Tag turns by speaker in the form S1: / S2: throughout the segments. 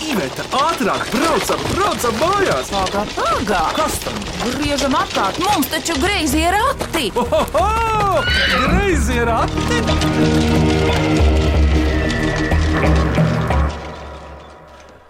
S1: Iveta, ātrāk, braucam, braucam mājās!
S2: Pagā, pagā!
S1: Kas tam?
S2: Griežam apkārt, mums taču greizi ir rati!
S1: Ohoho! Greizi ir atti!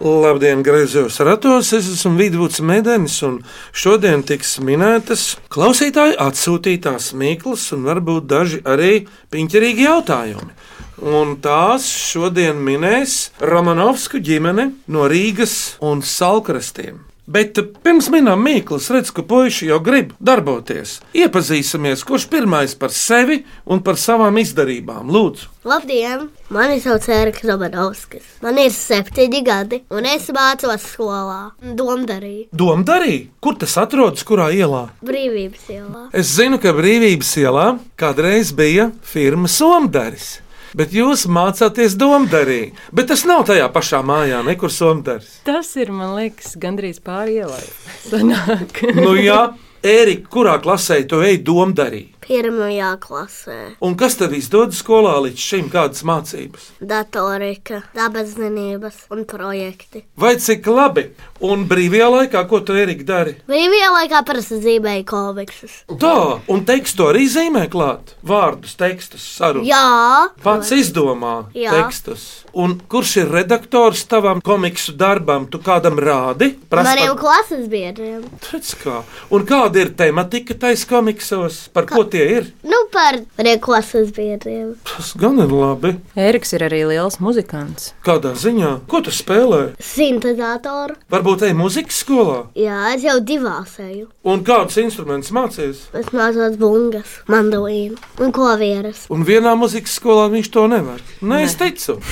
S3: Labdien, griezos ratos! Es esmu Vidvuds Medenis, un šodien tiks minētas klausītāju atsūtītās mīklas, un varbūt daži arī piņķerīgi jautājumi. Un tās šodien minēs Romanovsku ģimene no Rīgas un Salkrastiem. Bet pirms minām mīklas, redz, ka puiši jau grib darboties. Iepazīsimies, kurš pirmais par sevi un par savām izdarībām. Lūdzu!
S4: Labdien! Mani sauc Eriks Romanovskis. Man ir septiņi gadi, un es mācos skolā. Domdarī,
S3: Domdarī, kur tas atrodas, kurā ielā?
S4: brīvības ielā.
S3: Es zinu, ka brīvības ielā kādreiz bija firma Somdaris. Bet jūs mācāties domdarī. Bet tas nav tajā pašā mājā, nekur somdaris.
S5: Tas ir, man liekas, gandrīz pāri ielai. Sanāk.
S3: Nu, jā, Ērika, kurā klasē tu ej domdarī?
S4: Pirmajā klasē
S3: Un kas tev izdodas skolā līdz šim, kādas mācības?
S4: - datorika, dabaszinības un projekti.
S3: Vai cik labi? Un brīvajā laikā, ko tu Ērika dari?
S4: Brīvajā laikā parasti zīmēju komiksus.
S3: Tā, un tekstu arī zīmē klāt. Vārdus, tekstus, sarunas.
S4: Jā,
S3: Pats izdomā
S4: Jā.
S3: tekstus. Un kurš ir redaktors tavam komiksu darbam? Tu kādam rādi? Prasa
S4: maniem
S3: par-
S4: klases biedriem.
S3: Redz Kā. Un kāda ir tematika taisa komiksos? Par ko tie ir?
S4: Nu, par maniem klases biedriem.
S3: Tas gan ir labi.
S5: Eriks ir arī liels muzikants.
S3: Kādā ziņā? Ko tu spēlē?
S4: Sintēzatoru.
S3: Varbūt ej muzikas skolā?
S4: Jā, es jau divās eju.
S3: Un kādus instrumentus mācies?
S4: Es mācos bungas, mandolīnu un kovieras.
S3: Un vienā muzikas skolā viņš to nevar. Nē, ne. es ticu.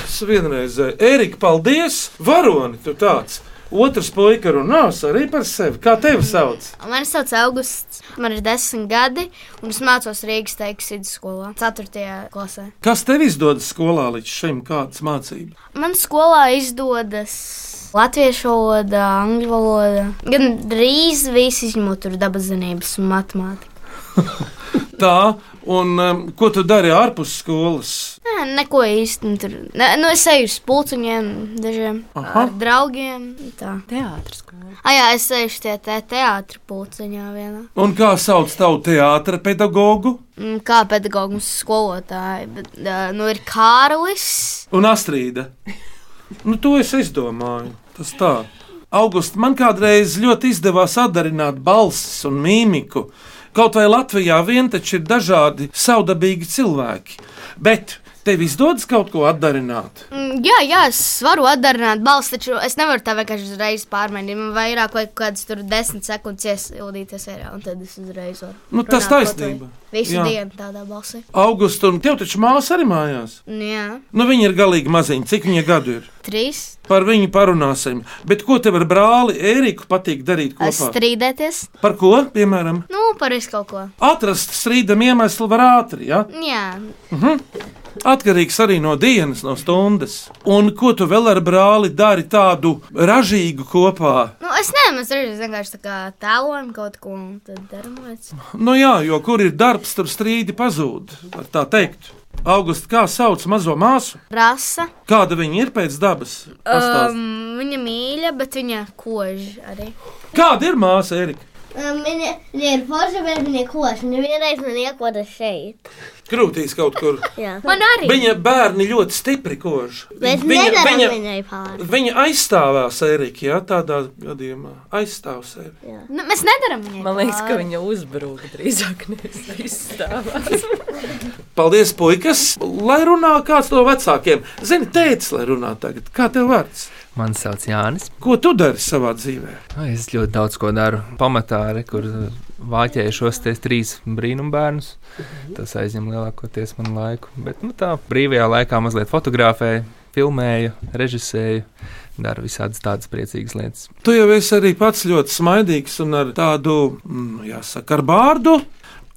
S3: Tas vienreiz, Erika, paldies! Varoni, tu tāds! Otrs puika runās arī par sevi. Kā tevi sauc?
S6: Mani sauc Augusts, man ir desmit gadi, un es mācos Rīgas teiks vidusskolā, 4. klasē.
S3: Kas tev izdodas skolā līdz šim? Kādas mācības?
S6: Man skolā izdodas latviešu valoda, angļu valoda, gan drīz visi izņemot tur dabas zinības un matemātiku.
S3: Tā, un um, ko tu dari ārpus skolas?
S6: Nē, neko īsti nu tur. Nē, nu es eju uz pulciņiem, dažiem
S3: Aha.
S6: ar draugiem. Tā.
S5: Teātris skola.
S6: Ah, jā, es eju uz tie te teātris pulciņā vienā.
S3: Un kā sauc tavu teātra pedagogu?
S6: Mm, Kā pedagogs un skolotāji, bet ā, nu ir Kārlis.
S3: Un Astrīda. Nu, to es izdomāju. Tas tā. August, man kādreiz ļoti izdevās atdarināt balsis un mīmiku. Kaut vai Latvijā vien taču ir dažādi savdabīgi cilvēki. Bet tev izdodas kaut ko atdarināt.
S6: Mm, Jā, jā, es varu atdarināt balsi, taču es nevaru tā vienkārši uzreiz pārmaiņot. Man vairāk vajag kaut kādas tur desmit sekundes iesildīties vērā, un tad es uzreiz varu.
S3: Nu, tas
S6: runāt kaut
S3: taisnība.
S6: vai Visu
S3: Jā.
S6: jā. dienu tādā balsī.
S3: August, un tev taču māsa arī mājās.
S6: Nu, jā,
S3: Nu, viņa ir galīgi maziņa. Cik viņa gadu ir?
S6: trīs.
S3: Par viņu parunāsim. Bet ko tev ar brāli Eriku patīk darīt
S6: Es
S3: kopā?
S6: strīdēties.
S3: Par ko, piemēram?
S6: Nu, par visu kaut ko. Nu,
S3: Atrast strīdam iemeslu var ātri, ja?
S6: Jā,
S3: atkarīgs arī no dienas, no stundas. Un ko tu vēl ar brāli dari tādu ražīgu kopā?
S6: nu, es nezinu, es reizes vienkārši tā kā tēlojam kaut ko, un tad darbojas.
S3: Nu jā, jo kur ir darbs, tur strīdi pazūd, var tā teikt. August, kā sauc mazo māsu?
S6: Rasa.
S3: Kāda viņa ir pēc dabas? Um.
S6: Um, viņa mīļa, bet viņa kož arī.
S3: Kāda ir māsa, Erika?
S4: Viņa ir forša, bet viņa ir koša. Viņa vienreiz man iekoda šeit.
S3: Krūtīs kaut kur.
S4: Jā.
S6: Man arī.
S3: Viņa bērni ļoti stipri kož.
S4: Mēs nedarām viņa... viņai pāri.
S3: viņa aizstāvās Erika, ja tādā gadījumā aizstāv sevi.
S6: Nu, mēs nedaram viņai.
S5: Man liekas, ka
S6: pāri.
S5: viņa uzbrūk drīzāk nevis aizstāvās.
S3: Paldies, puikas! Lai runā kāds no vecākiem. Zini, teicis, lai runā tagad. Kā tev vārds?
S7: Mani sauc Jānis.
S3: Ko tu dari savā dzīvē?
S7: Ai, Es ļoti daudz ko daru. Pamatā arī, kur uh, vāķēju šos te trīs brīnumbērnus. Tas aizņem lielākoties manu laiku. Bet nu, tā brīvajā laikā mazliet fotografēju, filmēju, režisēju, daru visādas tādas priecīgas lietas.
S3: Tu jau esi arī pats ļoti smaidīgs un ar tādu, mm, jāsaka, ar bārdu.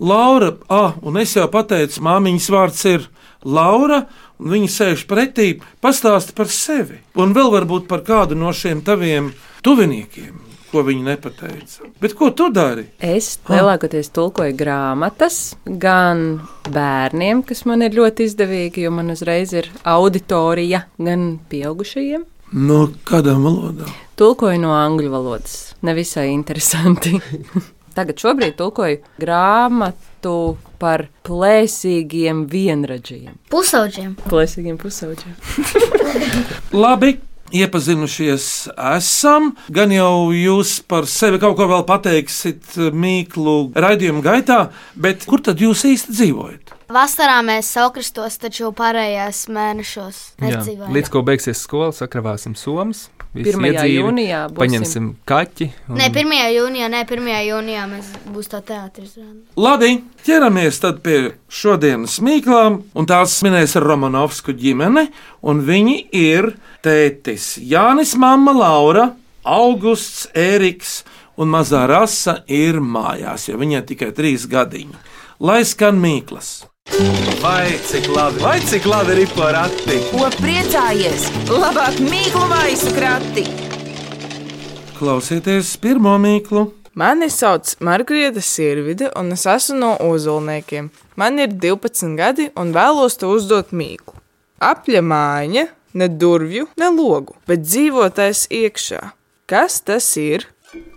S3: Laura, ah, un es jau pateicu, māmiņas vārds ir Laura, un viņa sēž pretī, pastāsta par sevi. Un vēl varbūt par kādu no šiem taviem tuviniekiem, ko viņa nepateica. Bet ko tu dari?
S5: Es Oh. lielākoties tulkoju grāmatas gan bērniem, kas man ir ļoti izdevīgi, jo man uzreiz ir auditorija, gan pieaugušajiem.
S3: No kādām valodām?
S5: Tulkoju no angļu valodas. Nevisai interesanti. Tagad šobrīd tulkoju grāmatu par plēsīgiem vienradžiem.
S6: Pusauģiem.
S5: Plēsīgiem pusauģiem.
S3: Labi. Iepazinušies, esam. Gan jau jūs par sevi kaut ko vēl pateiksiet mīklu raidījuma gaitā, bet kur tad jūs īsti dzīvojat?
S6: Vasarā mēs saukristos, taču pārējās mēnešos nedzīvojam.
S7: Līdz ko beigsies skola, sakravāsim somas. visi
S5: 1.
S7: iedzīvi,
S5: jūnijā būsim.
S7: Paņemsim kaķi. un-
S6: Nē, 1. jūnijā, nē, 1. jūnijā mēs būs tā teātris.
S3: Labi, ķeramies tad pie šodienas mīklām, un tās minēs Romanovsku ģimene, un viņi ir tētis Jānis, mamma Laura, Augusts, Ēriks un mazā rasa ir mājās, jo viņai tikai trīs gadiņi. Lai skan mīklas!
S1: Vai cik labi, vai cik labi ir porati?
S2: Ko priecājies? Labāk mīklu maisu krati.
S3: Klausieties pirmo mīklu.
S8: Mani sauc Margarita Sirvide, un es esmu no Ozolniekiem. Man ir 12 gadi, un vēlos te uzdot mīklu. Apļamāņa, ne durvju, ne logu, bet dzīvotais iekšā. Kas tas ir?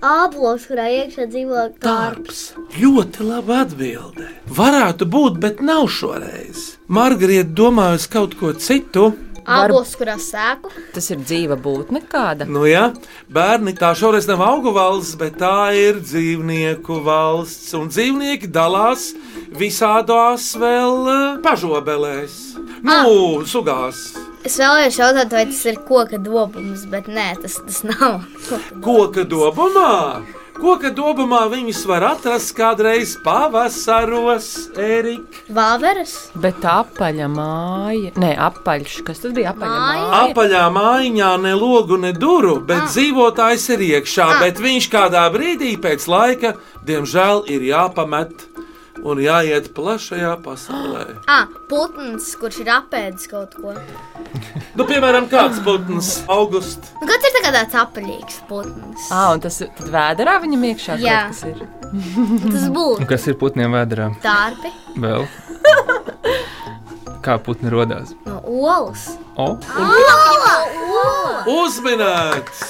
S4: Ābols, kurā iekšā dzīvo dārbi.
S3: Darbs. Ļoti laba atbilde. Varētu būt, bet nav šoreiz. Margarita domājusi kaut ko citu.
S6: Abos, kurā sēku.
S5: Tas ir dzīva būtne kāda.
S3: Nu, jā, bērni, tā šoreiz nav augu valsts, bet tā ir dzīvnieku valsts. Un dzīvnieki dalās visādās vēl eh, pažobelēs, nu, sugās.
S6: Es vēlējos jautāt, vai tas ir koka dobums, bet nē, tas, tas nav.
S3: Koka dobumā! Koka dobumā viņus var atrast kādreiz pavasaros, Erika.
S6: Vāveres?
S5: Bet apaļa māja. Nē, apaļš. Kas tas bija? Apaļa
S6: Māja?
S5: māja.
S3: Apaļā mājiņā ne logu, ne duru, bet dzīvotājs ir iekšā. Bet viņš kādā brīdī pēc laika, diemžēl, ir jāpamet un jāiet plašajā pasaulē.
S6: Ah, putns, kurš ir apēdis kaut ko. Nu,
S3: Nu, piemēram, kāds putns augustā.
S6: kāds ir tā kā tāds apaļīgs putns?
S5: Ah, un tas tad vēderā viņam iekšā
S6: Jā.
S5: kaut kas ir.
S6: Tas
S7: Un
S6: būtu
S7: Kas ir putniem vēdā?
S6: dārbi
S7: Vēl. Kā putni radās?
S6: no olas.
S7: O,
S3: Uzminēts!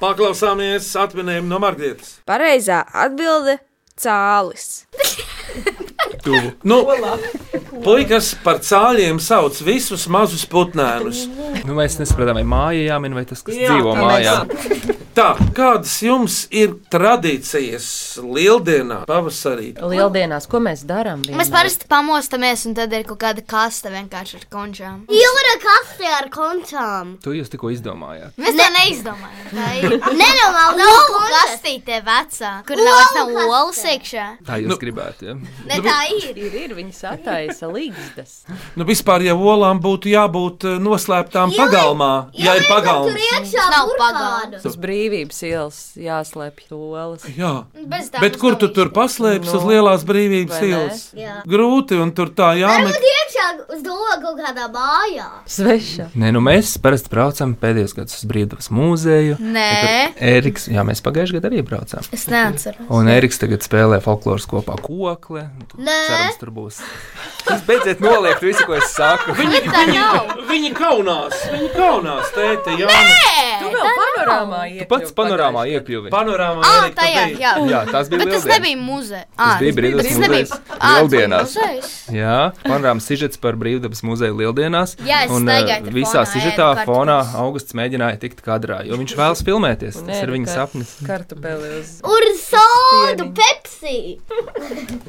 S3: Paklausāmies atminējumu no Margarita.
S9: Pareizā atbilde - cālis.
S7: tuvu.
S3: Nu, puikas par cāļiem sauc visus mazus putnēnus.
S7: Nu, mēs nesapratām, vai māja jāmin, vai tas, kas
S3: Jā,
S7: dzīvo
S3: tā
S7: mājā.
S3: Tā, kādas jums ir tradīcijas lieldienā, pavasarī?
S5: Lieldienās, ko mēs darām?
S6: Mēs parasti pamostamies, un tad ir kaut kāda kasta vienkārši ar končām.
S4: Jūra kastē ar kontām.
S7: To jūs tikko izdomājāt.
S6: Mēs tā neizdomājam. Tā ir
S4: Nenormāli,
S6: Olu kastīte vecā, kur nav vairs nav olas iekšā.
S7: Tā jūs nu. gribētu. Ja?
S6: Ne tā ir.
S5: Ir, ir viņi sataisa līgstas.
S3: Nu, vispār jau olām būtu jābūt eh, noslēptām pagalmā, ja ir
S4: Tur
S3: pagalms.
S4: iekšā
S6: Nav
S4: nav pagādu.
S5: Uz brīvības ielas jāslēpj olas.
S3: Jā.
S6: Bez tā
S3: Bet
S6: mums
S3: kur
S6: nav
S3: tu tur paslēpsi uz lielās brīvības
S5: Nu, vai ne?
S3: ielas?
S4: Jā.
S3: Grūti, un tur tā jāmet.
S4: Tur iekšā uz logu kādā mājā.
S5: Sveša.
S7: Nē, nu mēs parasti braucam pēdējos gados uz Brīvdabas mūzeju.
S6: Nē.
S7: Eriks, jā, mēs pagājušajā gadā arī braucām.
S6: Es neatceros.
S7: Un Eriks tagad spēlē folkloras kopā kokle.
S6: Nē.
S7: Cerams, tur būs. Jūs beidziet noliekt visu, ko es saku.
S6: Bet tā nav.
S3: Viņi kaunās, viņi kaunās, tēti, jā.
S5: Tu Nu, vēl panorāmā iekļuvi.
S7: Pats panorāmā iekļuvi.
S3: Panorāmā
S6: Ah,
S3: Erika, tu
S6: tajā,
S3: biji.
S6: jā.
S7: Jā, tas bija
S6: Bet tas
S7: lieldienas.
S6: nebija muzeja.
S7: Tas bija brīvdabas muzejs. Lieldienās. Jā, panorāmas sižets par brīvdabas muzeju lieldienās.
S6: Jā, es
S7: un
S6: staigāju
S7: eh,
S6: te
S7: visā
S6: fonā,
S7: sižetā
S6: ēdu
S7: fonā
S6: kartupeļus.
S7: augusts mēģināja tikt kadrā, jo viņš vēlas filmēties. Tas ir viņa sapnis.
S5: Kartupeli uz.
S4: Tur sodu, pepsi.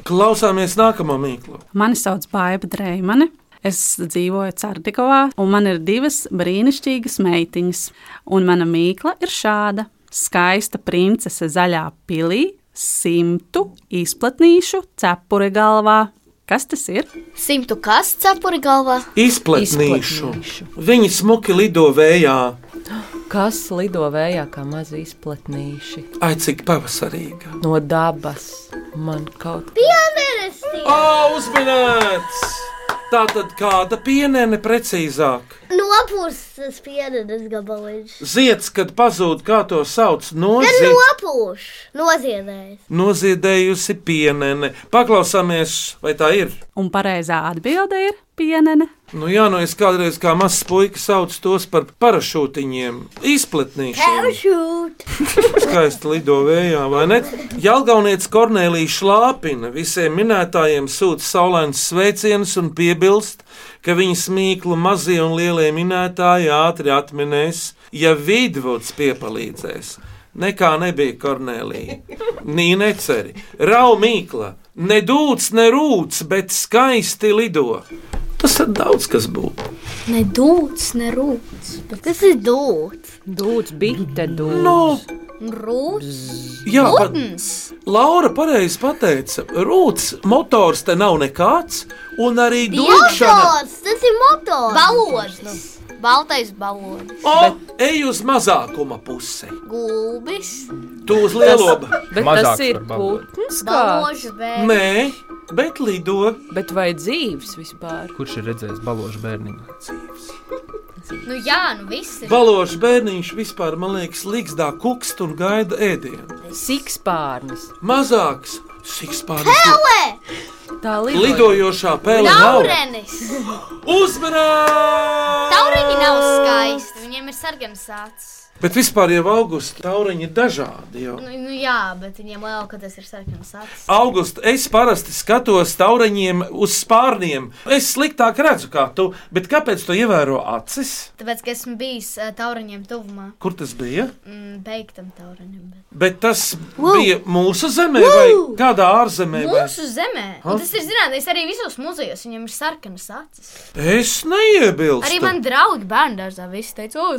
S3: Klausāmies nākamo mīklu.
S10: Mani sauc Baiva Dreimane. Es dzīvoju Cārdikovā, un man ir divas brīnišķīgas meitiņas. Un mana mīkla ir šāda: skaista princese zaļā pilī, simtu izplatnīšu cepuri galvā. Kas tas ir?
S6: Simtu kas cepuri galvā?
S3: Izplatnīšu. Viņi smuki lido vējā.
S5: Kas lido vējā kā mazi izplatnīši
S3: Ai, cik pavasarīga.
S5: no dabas? Man kaut kā
S3: O, uzminēts! Tā tad kāda pienene precīzāk?
S4: Nopūstas pienenes gabaliņš.
S3: Zieds, kad pazūd, kā to sauc, nozi...
S4: Nopūš, noziedējis.
S3: noziedējusi pienene. Paklausāmies, vai tā ir.
S10: Un pareizā atbilde ir pienene.
S3: Nu, jā, nu es kādreiz kā mazs puika saucu tos par parašūtiņiem, izplatnīšiem.
S4: Šūt!
S3: Skaisti lido vējā, vai ne? Jālgaunietis Kornelija šlāpina visiem minētājiem sūta saulains sveicienus un piebilst, ka viņas mīklu mazie un lielie minētāji ātri atminēs, ja vidvuds piepalīdzēs. Nekā nebija Kornelija. Nī neceri. Rau mīkla, ne dūts, ne rūts, bet skaisti lido. Tas ir daudz kas būtu.
S4: Ne dūts, ne rūts. Kas ir dūts?
S5: Dūts, bite, dūts.
S3: Nu,
S4: Rūts.
S3: Jā,
S6: Nu?
S3: pa, Laura pareizi pateica, rūts motors te nav nekāds, un arī došana.
S4: Motors! Tas ir motors!
S6: Balonis. Baltais balonis.
S3: O, ej uz mazākuma pusi,
S6: Gulbis.
S3: tu uz lielo.
S5: Bet
S7: Mazāks
S5: tas ir
S7: par baloni.
S5: putns kā.
S6: Baložs bērns.
S3: Nē, bet lido.
S5: Bet vai dzīves vispār?
S7: Kurš ir redzējis balošu bērniņu?
S6: Nu jā, nu viss ir.
S3: Balošs bērniņš vispār, man liekas, līgzdā kukst un gaida ēdienu.
S5: Sikspārnis.
S3: Mazāks, sikspārnis,
S5: Tā lido.
S3: lidojošā pēle nav.
S6: Taurenis.
S3: Uzmanā!
S6: Taureni nav skaisti. Viņiem ir sargams sācis.
S3: Bet vispār jau augusta tauriņi ir dažādi. Jau.
S6: Nu, nu jā, bet viņiem liekas, ka tas ir sarkans acis.
S3: August, es parasti skatos tauriņiem uz spārniem. Es sliktāk redzu, kā tu, bet kāpēc tu ievēro acis?
S6: Tāpēc, ka esmu bijis uh, tauriņiem tuvumā,
S3: Kur tas bija?
S6: mm, beigtam tauriņam. Bet...
S3: Bet tas Woo. bija mūsu zemē vai kādā ārzemē? Vai?
S6: Mūsu zemē, un tas ir zināms, arī visos muzejos viņam ir sarkanas acis.
S3: Es neiebilstu.
S6: Arī man draugi bērnu dārzā visi teica, o,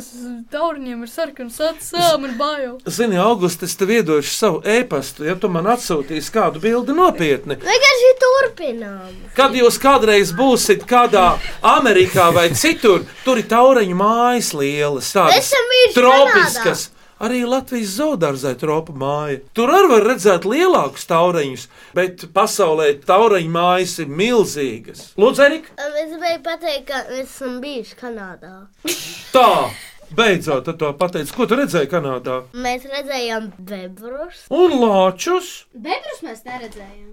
S6: tauriņiem ir sarkanas acis, jā, man bail.
S3: Zini, August, es tev iedošu savu e-pastu, ja tu man atsūtīsi kādu bildi nopietni.
S4: Vienkārši turpinām.
S3: Kad jūs kādreiz būsiet kādā Amerikā vai citur, tur ir tauriņu mājas lielas, tādas
S4: Esam bijuši
S3: tropiskas. Arī Latvijas zoodārzē tropu māja. Tur arī var redzēt lielākus tauriņus, bet pasaulē tauriņu mājas ir milzīgas. Lūdzu, Erika,
S4: Es gribēju pateikt, ka mēs esam bijuši Kanādā.
S3: tā! Beidzot, tad to pateicu, ko tu redzēji Kanādā.
S4: Mēs redzējām bebrus.
S3: Un lāčus,
S6: Bebrus mēs neredzējām.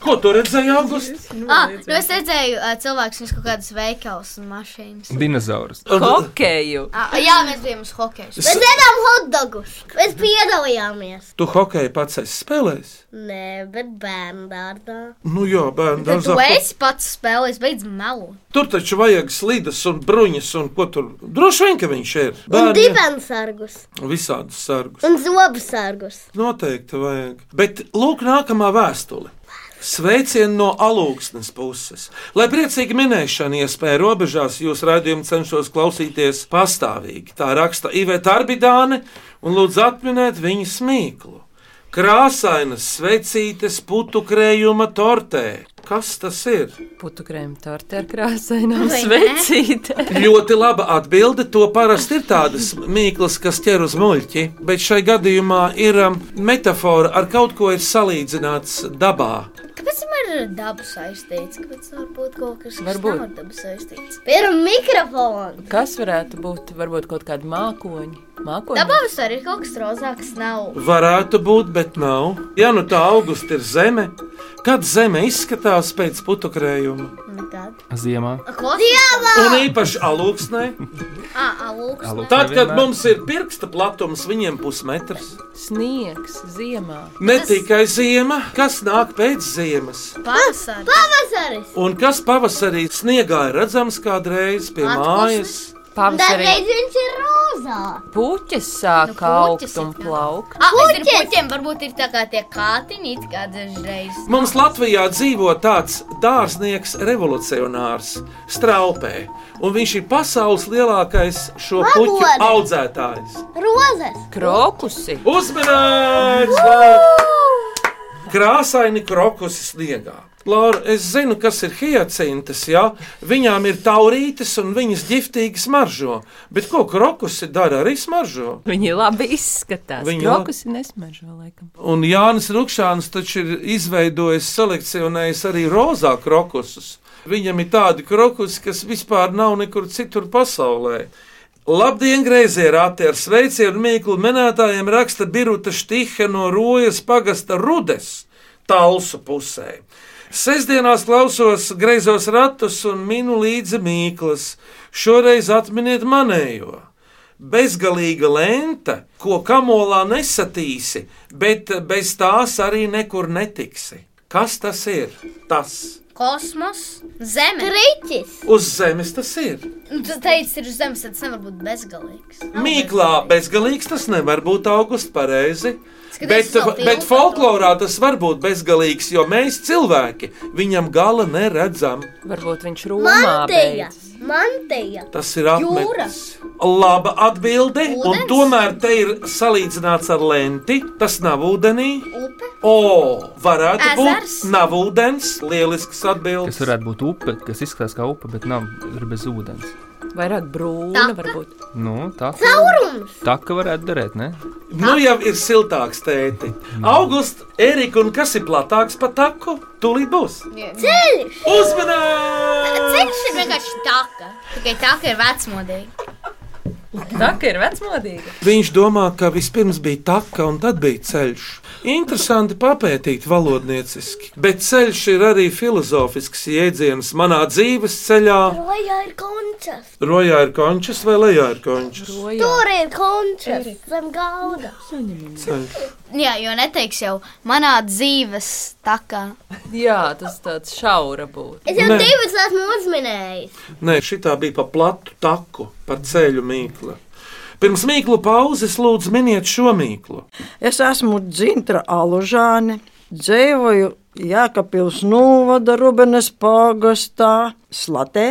S3: ko tu redzēji augustā?
S6: Ah, nu es redzēju uh, cilvēkus, viņus kaut kādas veikals un mašīnas.
S7: Dinozaurus.
S5: Hokeju.
S6: Ah, jā, mēs bijām uz hokeja.
S4: Mēs ēdām hotdogus. Mēs piedalījāmies.
S3: Tu hokeju pats esi spēlējis?
S4: Nē, bet bērnu dārgā.
S3: Nu jā, bērnu
S6: Tad tu
S3: dārzā. ko-
S6: esi pats spēlējis, beidz melot.
S3: Tur taču vajag slīdes un bruņas, un ko tur droši vien, ka viņš ir.
S4: Un
S3: Bērni
S4: dibensargus.
S3: visādi sargus.
S4: Un zobsargus.
S3: Noteikti vajag. Bet lūk, nākamā vēstule. Sveicieni no alūksnes puses. Lai priecīgi minēšana iespēja robežās, jūs raidījumu cenšos klausīties pastāvīgi. Tā raksta Iveta Arbidāne un lūdzu atminēt viņa smīklu. Krāsainas svecītes putu krējuma tortē. Kas tas ir?
S5: Putu krēma torte ar krāsainām
S6: Vai ne?
S5: svecītēm.
S3: Ļoti laba atbilde. To parasti ir tādas mīklas, kas ķer uz muļķi, bet šai gadījumā ir um, metāfora ar kaut ko ir salīdzināts dabā.
S6: Kāpēc man ir daba saistīts? Kāpēc tā var būt kaut kas tāds?
S5: Varbūt.
S6: Varbūt daba saistīts.
S4: Pirmā mikrofona.
S5: Kas varētu būt? Varbūt kaut kāda mākoņa. Mākoņa.
S6: Dabā vispār ir kaut kas rozāks, nav.
S3: Varētu būt, bet nav. Ja nu tā augusta ir zeme, kad zeme izskatās pēc putukrējuma,
S6: Nekad.
S7: Ziemā.
S6: Klausies,
S3: un īpaši alūksnē,
S6: ah, lūk.
S7: Alūksnē
S3: tad, kad
S7: vienmēr.
S3: mums ir pirksta platums, viņiem pusmetrs.
S5: Sniegs ziemā.
S3: Ne tikai zima, kas nāk pēc ziemas,
S6: Pārsādi.
S4: Pavasaris.
S3: un kas pavasarī sniegā ir redzams kādreiz pie mājas.
S5: Pavasarī
S4: Dažreiz viņš ir rozā.
S5: puķis sāk
S6: Nu, puķes
S5: augt un
S6: ir tā.
S5: plaukt.
S6: Ah, es ar
S4: Puķes!
S6: puķiem varbūt ir tā kā tie kātiņi, it kā dažreiz.
S3: Mums Latvijā dzīvo tāds dārznieks, revolucionārs, straupē, un viņš ir pasaules lielākais šo
S4: Labori!
S3: puķu audzētājs.
S4: Rozes.
S5: Krokusi.
S3: Uzmanīgs! Krāsaini krokusi sniegā. Laura, es zinu, kas ir hiacintas, jā, viņām ir taurītes un viņas ģiftīgi smaržo, bet ko krokusi dara arī smaržo?
S5: Viņi labi izskatās.
S3: Viņi
S5: Viņi
S3: labi-
S5: krokusi nesmaržo laikam.
S3: Un Jānis Rukšāns taču ir izveidojis, selekcionējis arī rozā krokusus. Viņam ir tādi krokusi, kas vispār nav nekur citur pasaulē. Labdien, grēzierāte ar sveicienu mīklu minētājiem raksta Biruta Štiha no Rojas pagasta Rudes, Talsu pusē. Sestdienās klausos greizos ratus un minu līdzi mīklas. Šoreiz atminiet manējo. Bezgalīga lenta, ko kamolā nesatīsi, bet bez tās arī nekur netiksi. Kas tas ir? Tas
S6: Kosmos, zeme.
S4: Kriķis.
S3: uz zemes tas ir.
S6: Nu, Tu teici, ir uz zemes, tad tas nevar būt bezgalīgs. Nav
S3: Mīklā bezgalīgs tas nevar būt augusts pareizi. Bet,
S6: Skaties uz to filmu
S3: bet
S6: par to.
S3: folklorā tas var būt bezgalīgs, jo mēs cilvēki viņam gala neredzam.
S5: Varbūt viņš rūmā
S4: Manteja.
S5: beidz.
S4: Manteja.
S3: Tas ir apmetums. Laba atbilde, un
S6: Ūdens?
S3: tomēr te ir salīdzināts ar lenti. Tas nav ūdenī.
S6: Upe.
S3: O, varētu būt.
S6: Ezers?
S3: Nav ūdens, lielisks
S7: Kas
S3: atbildes.
S7: varētu būt upe, kas izskatās kā upe, bet nav ir bez ūdens.
S5: Vairāk brūna
S6: Taka?
S5: varbūt.
S7: Nu, tā
S4: Caurums.
S7: tā kā varētu derēt, ne?
S3: Nu jau ir siltāks tēti. August, Erika, un kas ir platāks par taku? Tūlīt būs.
S4: Ceļš.
S3: Uzmanīgi!
S6: Ceļš ir vienkārši taka. Tikai taka ir vecmodīga.
S5: Tā kā ir vecmodīga.
S3: Viņš domā, ka vispirms bija taka un tad bija ceļš. Interesanti papētīt valodnieciski, bet ceļš ir arī filozofisks jēdziens manā dzīves ceļā.
S4: Lejā ir končas.
S3: Rojā ir končas vai lejā ir končas?
S4: Tur ir končas. Zem galda.
S3: Ceļš.
S6: Jā, jo neteiks jau manā dzīves taka.
S5: Jā, tas tāds šaura būtu.
S4: Es jau
S3: Nē.
S4: divas esmu uzminējis.
S3: Nē, šitā bija pa platu taku, pa ceļu mīklu. Pirms mīklu pauzes lūdzu miniet šo mīklu.
S11: Es esmu Dzintra Alužāne, dzīvoju Jēkabils novada Rubenes pagastā Slatē,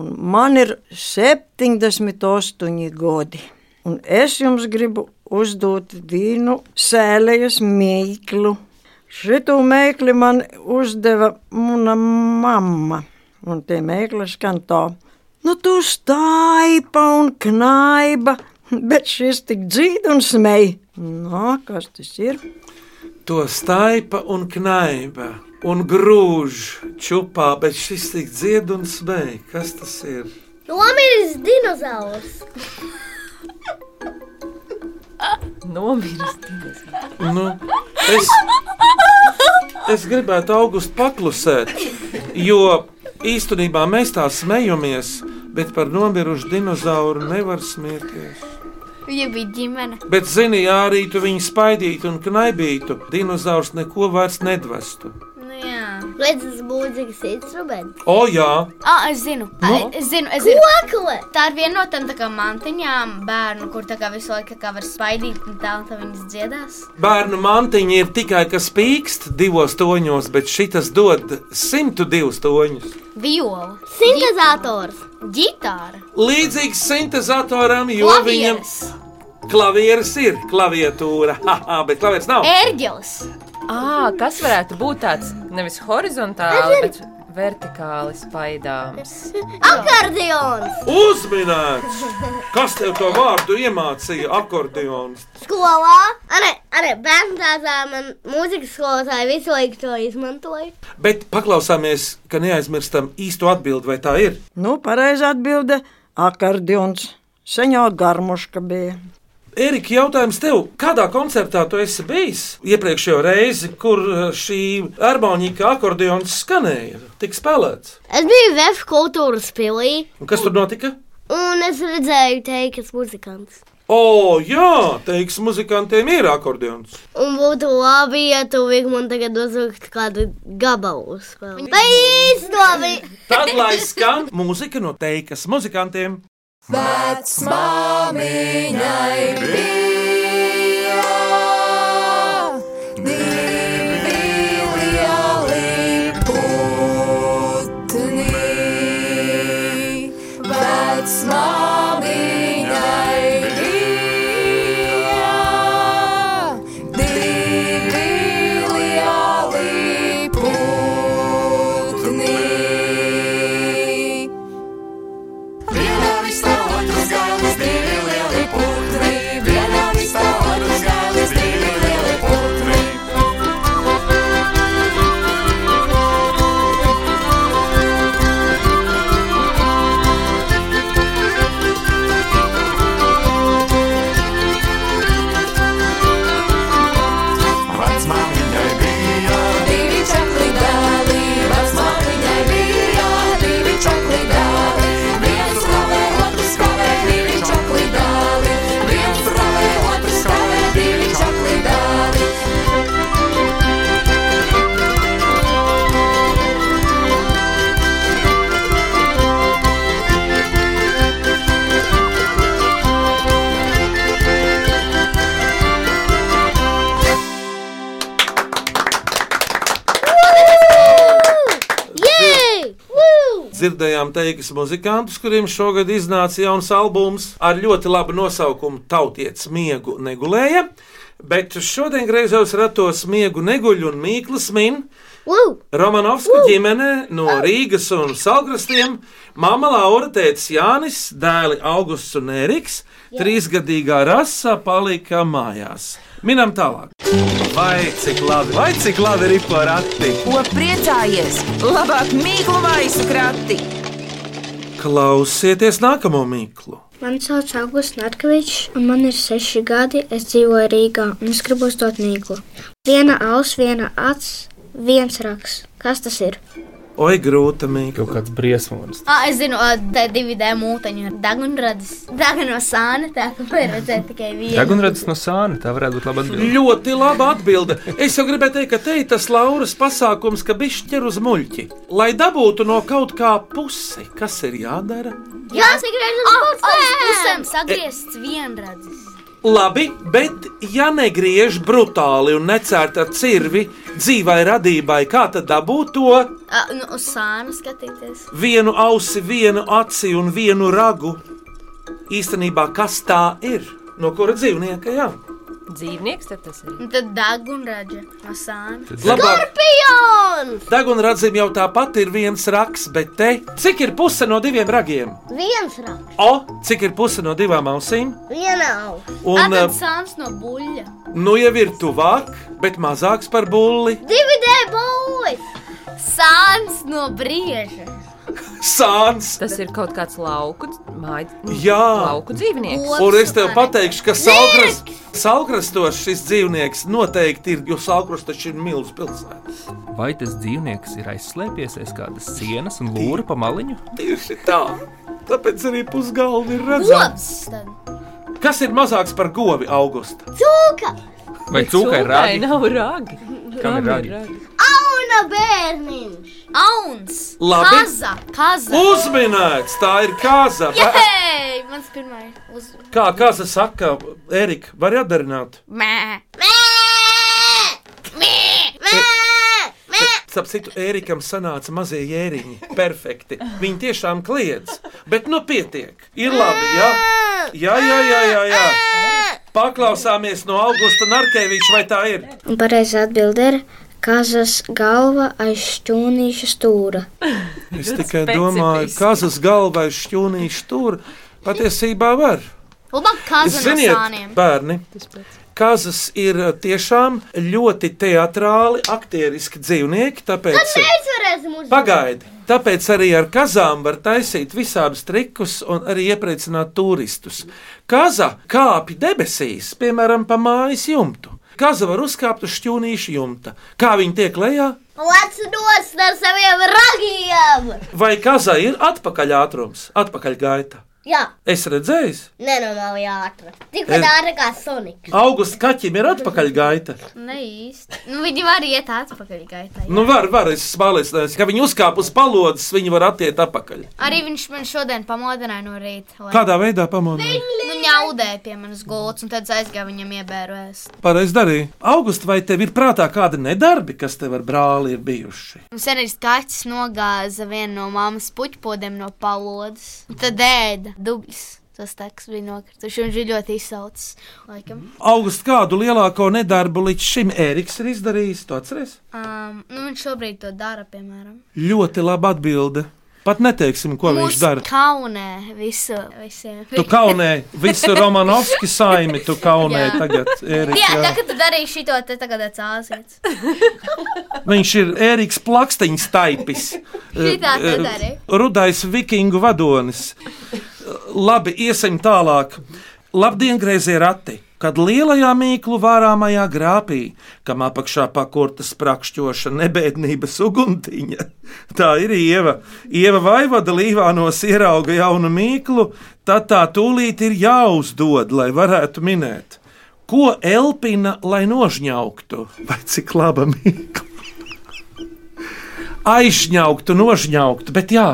S11: un man ir 78 godi. Un es jums gribu uzdot vīnu sēlejas mīklu. Šitu mēkli man uzdeva mana mamma, un tie mēkli skan tā. Nu, tu staipa un knaiba, bet šis tik dzīd un smēj. Nā, kas tas ir?
S3: To staipa un knaiba un grūž čupā, bet šis tik dzied un smēj. Kas tas ir?
S4: Nomiris dinozaurs.
S5: Nomirst. nezinu.
S3: Nu, es, es gribētu augustu paklusēt, jo īstenībā mēs tā smejamies, bet par nomirušu dinozauru nevar smieties.
S6: Viņa bija ģimene.
S3: Bet, zini, ja arī tu viņu spaidītu un knaibītu, dinozaurs neko vairs nedvestu.
S6: Nu, jā.
S4: Redz, tas būdzīgs instruments.
S3: O, jā,
S6: Ah, es zinu,
S3: Nu?
S6: no? es zinu, es zinu.
S4: Kokle.
S6: Tā ir viena no tām tā kā mantiņām, bērnu, kur tā kā visu laiku tā kā var spaidīt un tā, un tā viņas dziedās.
S3: bērnu mantiņa ir tikai kas pīkst divos toņos, bet šitas dod 102 toņus.
S6: Viola,
S4: Sintetizators.
S6: ģitāra,
S3: Līdzīgs sintēzatoram, jo viņam
S6: klavieres,
S3: klavieres ir klaviatūra, haha, bet klavieres nav.
S6: ērģeles.
S5: Ā, kas varētu būt tāds nevis horizontāli, bet vertikāli spaidāms?
S4: Akordeons.
S3: Uzminēts! Kas tev to vārdu iemācīja? Akordeons.
S4: Skolā. Arī, arī bērnu dārzā man mūzikas skolotāji visu laiku to izmantoja.
S3: Bet paklausāmies, ka neaizmirstam īsto atbildi, vai tā ir.
S11: Nu, pareizi atbilde - akordions. Senjā garmuška bija.
S3: Erika, jautājums tev, kādā koncertā tu esi bijis iepriekšējo reizi, kur eh, šī harmonika akordeons skanēja, tika spēlēts?
S4: Es biju Vēstures kultūras pilī,
S3: Un kas tur notika?
S4: un es redzēju, teikas muzikants.
S3: O, jā, teiks, muzikantiem ir akordeons.
S4: Un būtu labi, ja tu vien man tagad uzvilktu kādu gabalu. Vai īstenībā?
S3: Tad lai skan mūzika no teikas muzikantiem.
S9: Divi lieli putni.
S3: dzirdējām teikas muzikantus, kuriem šogad iznāca jauns albums ar ļoti labu nosaukumu Tautietis miegu negulēja. Bet šodien griezos ratos miegu neguļu un mīklas min. Romanovsku ģimene no Rīgas un Salgrastiem, māma Laura, tēvs Jānis, dēli Augusts un Eriks, trīsgadīgā rasa palika mājās. Minam tālāk.
S1: Vai cik labi, vai cik labi ir porakti?
S2: Ko priecājies? Labāk mīklu maisu krati!
S3: Klausieties nākamo mīklu.
S12: Mani sauc Augusts Narkevičs, un man ir seši gadi. Es dzīvoju Rīgā, un es gribu uzdot mīklu. Viena auss, viena acis, viens raksts. Kas tas ir?
S3: Oi, grūta mīkla.
S7: Kaut kāds briesmonis.
S6: Ah, es zinu, ā, tā ir divi D mūteņi. Dagunradas, Dagunosāna, tā ka var redzēt tikai vienu.
S7: Dagunrads no sāna, tā varētu būt laba atbilde.
S3: Ļoti laba atbilde. Es jau gribēju teikt, ka te ir tas Lauras pasākums, ka bišķi ķer uz muļķi. Lai dabūtu no kaut kā pusi, kas ir jādara?
S6: Jā, Ah, sagriezt uz pusēm. Sagriezts vienradzis.
S3: Labi, bet ja negriež brutāli un necērt ar cirvi dzīvai radībai, kā tad dabūt to
S6: Ah, nu, uz sānu skatīties.
S3: vienu ausi, vienu aci un vienu ragu? Īstenībā, kas tā ir? No kura dzīvnieka? Jā.
S5: Dzīvnieks tad tas ir.
S6: Un tad Dagunradža no sāna.
S3: Labāk.
S4: Pions!
S3: Dagunradzim jau tāpat ir viens raksts, bet te cik ir puse no diviem ragiem?
S4: Viens raksts,
S3: O, cik ir puse no divām ausīm?
S4: viena auss.
S3: Un,
S6: Un tad
S3: eh,
S6: sāns no buļļa.
S3: nu jau ir tuvāk, bet mazāks par bulli.
S6: Divi D būs! Sāns no brieža.
S3: Sāns!
S5: Tas ir kaut kāds lauku, dz- māj-
S3: Jā,
S5: lauku dzīvnieks.
S3: un es tev pateikšu, ka Saukras- Saukrastos šis dzīvnieks noteikti ir, jo Saukras taču ir milzīgs pilsēta.
S7: Vai tas dzīvnieks ir aizslēpies aiz kādas sienas un lūra pa maliņu?
S3: Tieši tā! Tāpēc arī pusgalvi ir redzams.
S6: Gods! tad.
S3: Kas ir mazāks par govi augusta?
S4: Cūka!
S7: Vai cūkai
S5: Cūkai
S7: ir rādi?
S5: nav ragi.
S7: Kam ir ragi?
S4: Auna bērniņš!
S6: Auns!
S3: Labi.
S6: Kaza! Kaza!
S3: Uzminēts, tā ir kāza.
S6: Jei! Mans pirmais uz...
S3: Kā kāza saka, Erika, var atdarināt?
S6: Mē!
S3: Starp citu, Ērikam sanāca mazie jēriņi. Perfekti. Viņi tiešām kliedz. Bet nu pietiek. Ir labi, jā? Jā, jā, jā, jā. jā. Paklausāmies no Augusta Narkeviča, vai tā ir?
S12: Un pareizā atbildē ir kazas galva aiz šķūnīša stūra.
S3: Es
S12: Ļoti
S3: tikai domāju, kas uz galva ir šķūnīši tur. Patiesībā var.
S6: Labāk kaza no
S3: Ziniet,
S6: sāniem.
S3: bērni, kazas ir eh, tiešām ļoti teatrāli, aktieriski dzīvnieki. Tāpēc
S4: Mēs varēsim uzdot.
S3: Pagaidi! Tāpēc arī ar kazām var taisīt visādus trikus un arī iepriecināt turistus. Kaza kāpj debesīs, piemēram, pa mājas jumtu. Kaza var uzkāpt uz šķūnīša jumta. Kā viņa tiek lejā?
S4: Lec nost ar saviem ragiem!
S3: Vai kaza ir atpakaļ ātrums, atpakaļ gaita?
S4: Jā,
S3: Es redzēju,
S4: nenormāli ātri. Tikpat
S3: Es-
S4: ātri kā Sonika.
S3: augusta kaķim ir atpakaļ gaita.
S6: Ne īsti. Nu, viņi var iet atpakaļ gaitā.
S3: Nu, var, var, es esmu pārliecināts, ka viņi uzkāp uz palodzes, viņi var attiekt atpakaļ.
S6: Arī viņš man šodien pamodināja no rīta. lai-
S3: Kādā veidā pamodināt?
S6: Nu, ņaudēja pie manas gultas, un tad aizgāja viņam iebērēs.
S3: Pareizi darīja. August, vai tev ir prātā kādi nedarbi, kas tev ar brāli ir bijuši?
S6: Mums arī skaits nogāza vienu no mammas puķpodiem no palodzes. Un Tad ēda dubļus. Tas taks bija nokrituši, un viņš bija ļoti izsaucis. Laikam.
S3: August kādu lielāko nedarbu līdz šim Eriks ir izdarījis, to atceries?
S6: Um, nu, viņš šobrīd to dara, piemēram.
S3: Ļoti laba atbilde. Pat neteiksim, ko Mūs... viņš dara.
S6: kaunē visu, visiem.
S3: Tu kaunē visu Romanovski saimi, tu kaunē
S6: Jā.
S3: tagad Eriks.
S6: Jā, tā
S3: Jā.
S6: kā tu darīji šito, te tagad atsāsies.
S3: Viņš ir Eriks plaksteņš taipis.
S6: Šitā te
S3: Eh, eh,
S6: dari.
S3: Rudais vikingu vadonis. Labi, iesim tālāk. Labdien, griezie rati! Kad lielajā mīklu vārāmajā grāpī, kam apakšā pakurta sprakšķoša nebēdnības uguntiņa, tā ir ieva. Ieva vaivada līvānos ierauga jaunu mīklu, tad tā tūlīt ir jāuzdod, lai varētu minēt. Ko elpina, lai nožņauktu? Vai cik laba mīkla? aizņauktu, nožņauktu, bet jā.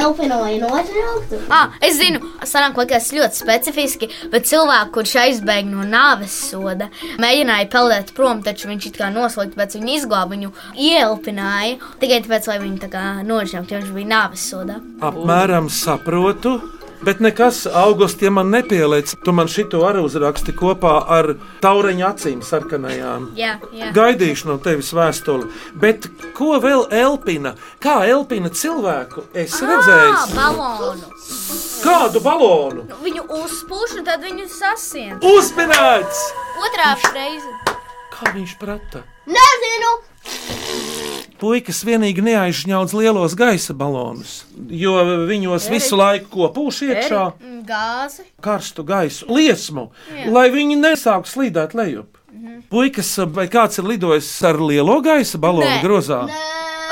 S4: Elpina vai nožņauktu?
S6: Ah, es zinu, sarunā kaut kas ļoti specifiski, bet cilvēku, kurš aizbēga no nāves soda, mēģināja peldēt prom, taču viņš it kā noslēgts, bet viņi izglāba viņu, ieelpināja tikai tāpēc, lai viņu tā kā nožņauktu, jo viņš bija nāves sodā.
S3: Apmēram saprotu. Bet nekas augustiem man nepieliec. Tu man šito arī uzraksti kopā ar taureņa acīm sarkanajām.
S6: Jā, jā.
S3: Gaidīšu no tevis vēstuli. Bet ko vēl elpina? Kā elpina cilvēku? Es
S6: Ah,
S3: redzēju,
S6: balonu.
S3: kādu balonu
S6: Viņu uzpūš un tad viņu sasien.
S3: uzminēts!
S6: Otrā reize.
S3: Kā viņš prata?
S4: Nezinu!
S3: Puikas vienīgi neaizņauc lielos gaisa balonus, jo viņos visu laiku kopūš iekšā
S6: Mm, Gāzi.
S3: karstu gaisu, liesmu,
S6: Jā. Mhm.
S3: lai viņi nesāktu slīdēt lejup. Puikas, vai kāds ir lidojis ar lielo gaisa balonu
S6: Nē.
S3: grozā?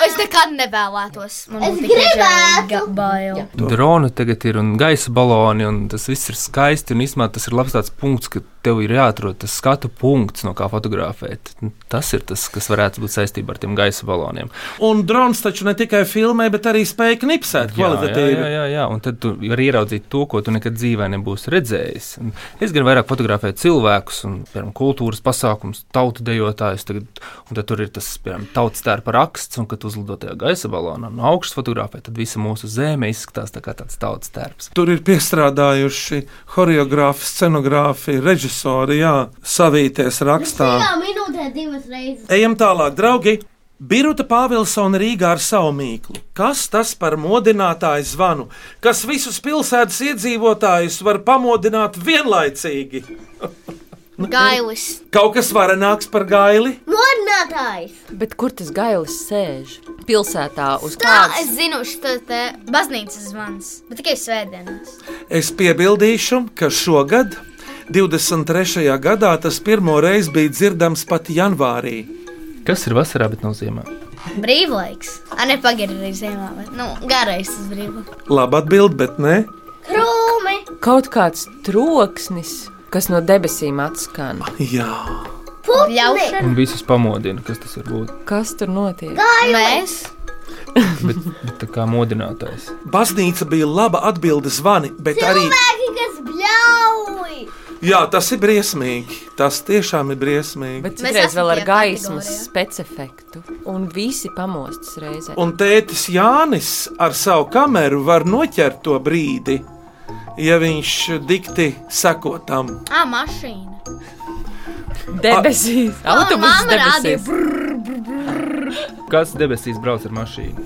S6: Es nekad nevēlētos. Man
S4: Es
S6: būtu tikai
S4: gribētu.
S6: žēl, bail.
S7: Droni tagad ir un gaisa baloni, un tas viss ir skaisti. Un īstenībā tas ir labs tāds punkts, ka tev ir jāatrod tas skatu punkts, no kā fotografēt. Nu, Tas ir tas, kas varētu būt saistībā ar tiem gaisa baloniem.
S3: Un drons taču ne tikai filmē, bet arī spēja knipsēt
S7: Jā, jā, jā,
S3: kvalitatīvi.
S7: jā, jā, un tad tu vari ieraudzīt to, ko tu nekad dzīvē nebūsi redzējis. Un es gribu vairāk fotografēt cilvēkus, un, piemēram, kultūras pasākumus, tautu dejotājus. Tagad, un tad tur ir tas, piemēram, tautas tērpa raksts, un kad uzlido tajā gaisa balonā no augšas fotografē, tad visa mūsu zeme izskatās tā kā tāds tautas tērps.
S3: Tur ir piestrādājuši choreogrāfi, scenogrāfi, režisori, jā, savīties rakstā.
S4: Tajā minūtē divas reizes.
S3: Ejam tālāk, draugi. Birta Pāvilsona Rīgā ar savu mīklu. Kas tas par modinātāju zvanu, kas visus pilsētas iedzīvotājus var pamodināt vienlaicīgi?
S6: Nu, Gailis.
S3: Kaut kas varenāks par gaili?
S4: Modinātājs!
S5: Bet kur tas gailis sēž? Pilsētā uz
S6: Tā,
S5: kādas
S6: es zinu, šis te baznīcas zvans, bet tikai svētdienās.
S3: Es piebildīšu, ka šogad, 23. gadā, tas pirmo reizi bija dzirdams pat janvārī.
S7: Kas ir vasarā, bet nav ziemā?
S6: Brīvlaiks. A, ne pagaidu arī ziemā, bet, nu, garais tas brīvlaiks.
S3: Labi atbild, bet nē.
S4: Krūmi!
S5: kaut kāds troksnis, kas no debesīm atskan.
S3: Jā,
S6: Ļaušana.
S7: Un visus pamodina, kas tas var būt.
S5: Kas tur notiek?
S6: Mēs.
S7: Bet, bet tā kā modinātājs.
S3: baznīca bija laba atbildes zvani, bet arī
S4: Cilvēki, kas bļauj!
S3: jā, tas ir briesmīgi. Tas tiešām ir briesmīgi.
S5: Bet citreiz
S4: esam
S5: vēl ar
S4: tajā
S5: gaismas
S4: kategorijā.
S5: specifektu. Un visi pamostas reizē.
S3: Un tētis Jānis ar savu kameru var noķert to brīdi, ja viņš dikti seko tam.
S6: Ā, mašīna.
S5: Debesīs.
S6: O,
S5: Autobuss
S6: mamma rādīja,
S5: debesīs.
S6: brr, brr, brr.
S7: Kas debesīs brauc ar mašīnu?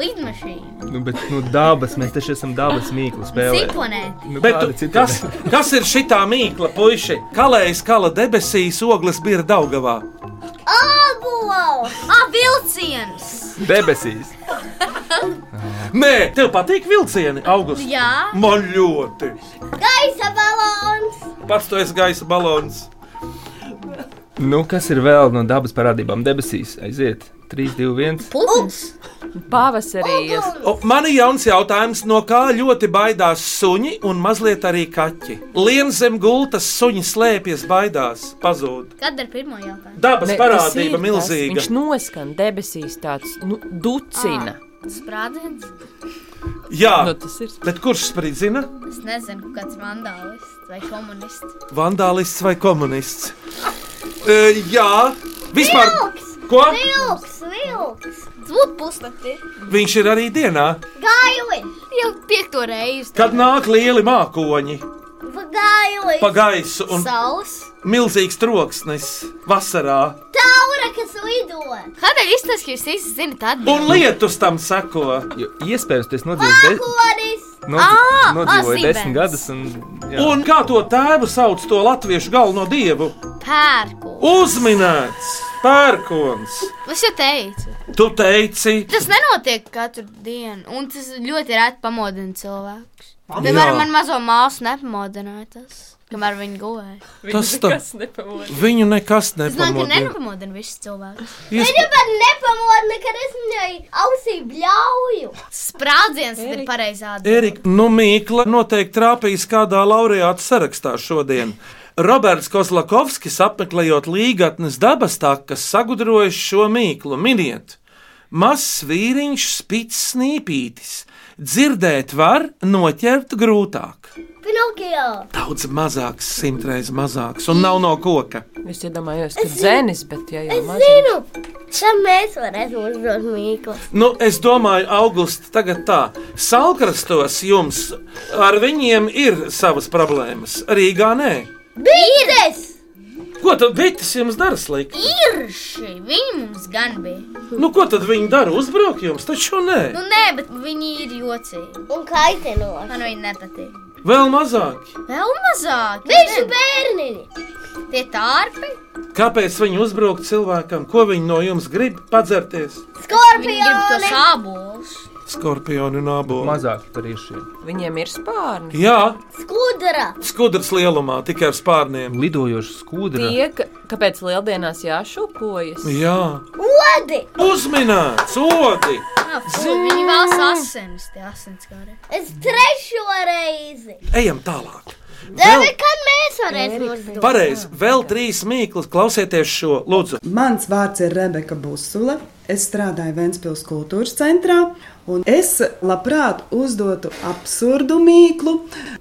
S6: Lidmašīna.
S7: Nu, bet, nu, dabas, mēs taču esam dabas mīklu spēlē.
S6: Ciponēti.
S7: Nu,
S3: Bet
S7: kāda
S3: tu-
S7: ciponēta?
S3: kas, kas ir šī mīkla, puiši? Kalējas kala debesīs, ogles bija Daugavā.
S6: Abols! Ah, vilciens!
S7: Debesīs!
S3: Nē, tev patīk vilcieni, augusts.
S4: Jā.
S3: man ļoti.
S4: Gaisa balons!
S3: Pats tu esi gaisa balons.
S7: Nu, kas ir vēl no dabas parādībām? Debesīs aiziet 3, 2, 1.
S6: Putns!
S5: Pavasarī.
S3: O, man ir jauns jautājums, no kā ļoti baidās suņi un mazliet arī kaķi. Lien zem gultas suņi slēpjas, baidās, pazūd.
S6: Kad ar pirmo jautājumu?
S3: Dabas
S5: Ne, tas ir
S3: parādība
S5: tas.
S3: milzīga.
S5: Viņš noskan debesīs tāds nu, ducina.
S6: Sprādziens?
S3: Jā,
S5: Nu, tas ir.
S3: bet kurš spridzina?
S6: Es nezinu, kāds vandālists vai komunists.
S3: Vandālists vai komunists? E, jā, vispār. Ko?
S4: Vilks, vilks!
S6: Zvūd pusnakti.
S3: Viņš ir arī dienā,
S4: Gaili!
S6: Jau piekto reizi.
S3: kad nāk lieli mākoņi
S4: Gaili!
S3: pa gaisu un
S6: Saules.
S3: milzīgs troksnis vasarā.
S4: Taura, kas lido!
S6: Kādēļ izskatās, ka jūs visi zinat
S3: Un
S6: atbildību?
S3: lietus tam seko.
S7: Jo, iespējams, tas nodzīvos de
S4: Konis!
S6: Ā,
S7: nodzi- nodzīvoja
S6: ā,
S7: desmit
S6: zibens.
S7: gadus. Un, jā.
S3: Un kā to tēvu sauc to latviešu galveno dievu?
S6: Pērku.
S3: Uzminēts pērkons.
S6: Es jau teicu.
S3: Tu teici,
S6: Tas nenotiek katru dienu, un tas ļoti reti pamodina cilvēkus.
S3: Jā.
S6: Piemēram, man mazo māsu nepamodināja tas, kamēr viņa gulēja.
S3: tas tas viņu nekas
S6: Es domāju, ka
S3: nepamodina.
S6: nepamodina visus cilvēkus.
S3: Iesp-
S4: Viņa pat nepamodina, kad es viņai ausī bļauju.
S6: Sprādziens tad ir pareizā atbilde.
S3: Erika, nu Mīkla noteikti trāpīs kādā laureāta sarakstā šodien. Roberts Kozlakovskis apmeklējot līgatnes dabas takas, sagudroja šo mīklu. Miniet, Mazs vīriņš spīd snīpītis, dzirdēt var, noķert grūtāk.
S4: Pinokio!
S3: Daudz mazāks, simtreiz mazāks, un nav no koka.
S5: Es iedomājos, ka dzēnis, bet ja jau
S4: Es
S5: maz.
S4: zinu, ka mēs varēsim uzdot mīklu.
S3: Nu, es domāju, Augusta, tagad tā. Salkrastos jums ar viņiem ir savas problēmas. Rīgā nē.
S4: Bīdes!
S3: Ko tad bites jums dara slikti?
S6: Ir šī, viņi mums gan bija.
S3: Nu, ko tad viņi dara? Uzbruk jums, taču nē.
S6: Nu, nē, bet viņi ir jocīgi.
S4: Un kaitinoši.
S6: Man viņi nepatīk.
S3: Vēl mazāk.
S6: Vēl mazāk.
S4: Bišu bērniņi!
S6: Tie tārpi.
S3: Kāpēc viņi uzbruk cilvēkam? Ko viņi no jums grib padzerties?
S6: Skorpioni. Viņi grib to sābolus.
S3: Skorpioni un abu.
S7: Mazāk par īšiem.
S5: Viņiem ir spārni.
S3: Jā,
S4: Skudra!
S3: skudras lielumā, tikai ar spārniem.
S7: Lidojoša skudra.
S5: Tie, ka, kāpēc lieldienās jāšūpojas?
S3: Jā,
S4: Odi!
S3: uzminēts, odi!
S6: Jā, fū, Viņi vēl asins, tie asins gari.
S4: Es trešo reizi!
S3: Ejam tālāk.
S4: Tev ir kad mēs varēsim uzdot?
S3: Pareizi, vēl trīs mīklas, klausieties šo, lūdzu.
S13: Mans vārds ir Rebeka Busula. Es strādāju Vēncpilsnes kultūras centrā, un es labprāt uzdotu absurdu mīklu,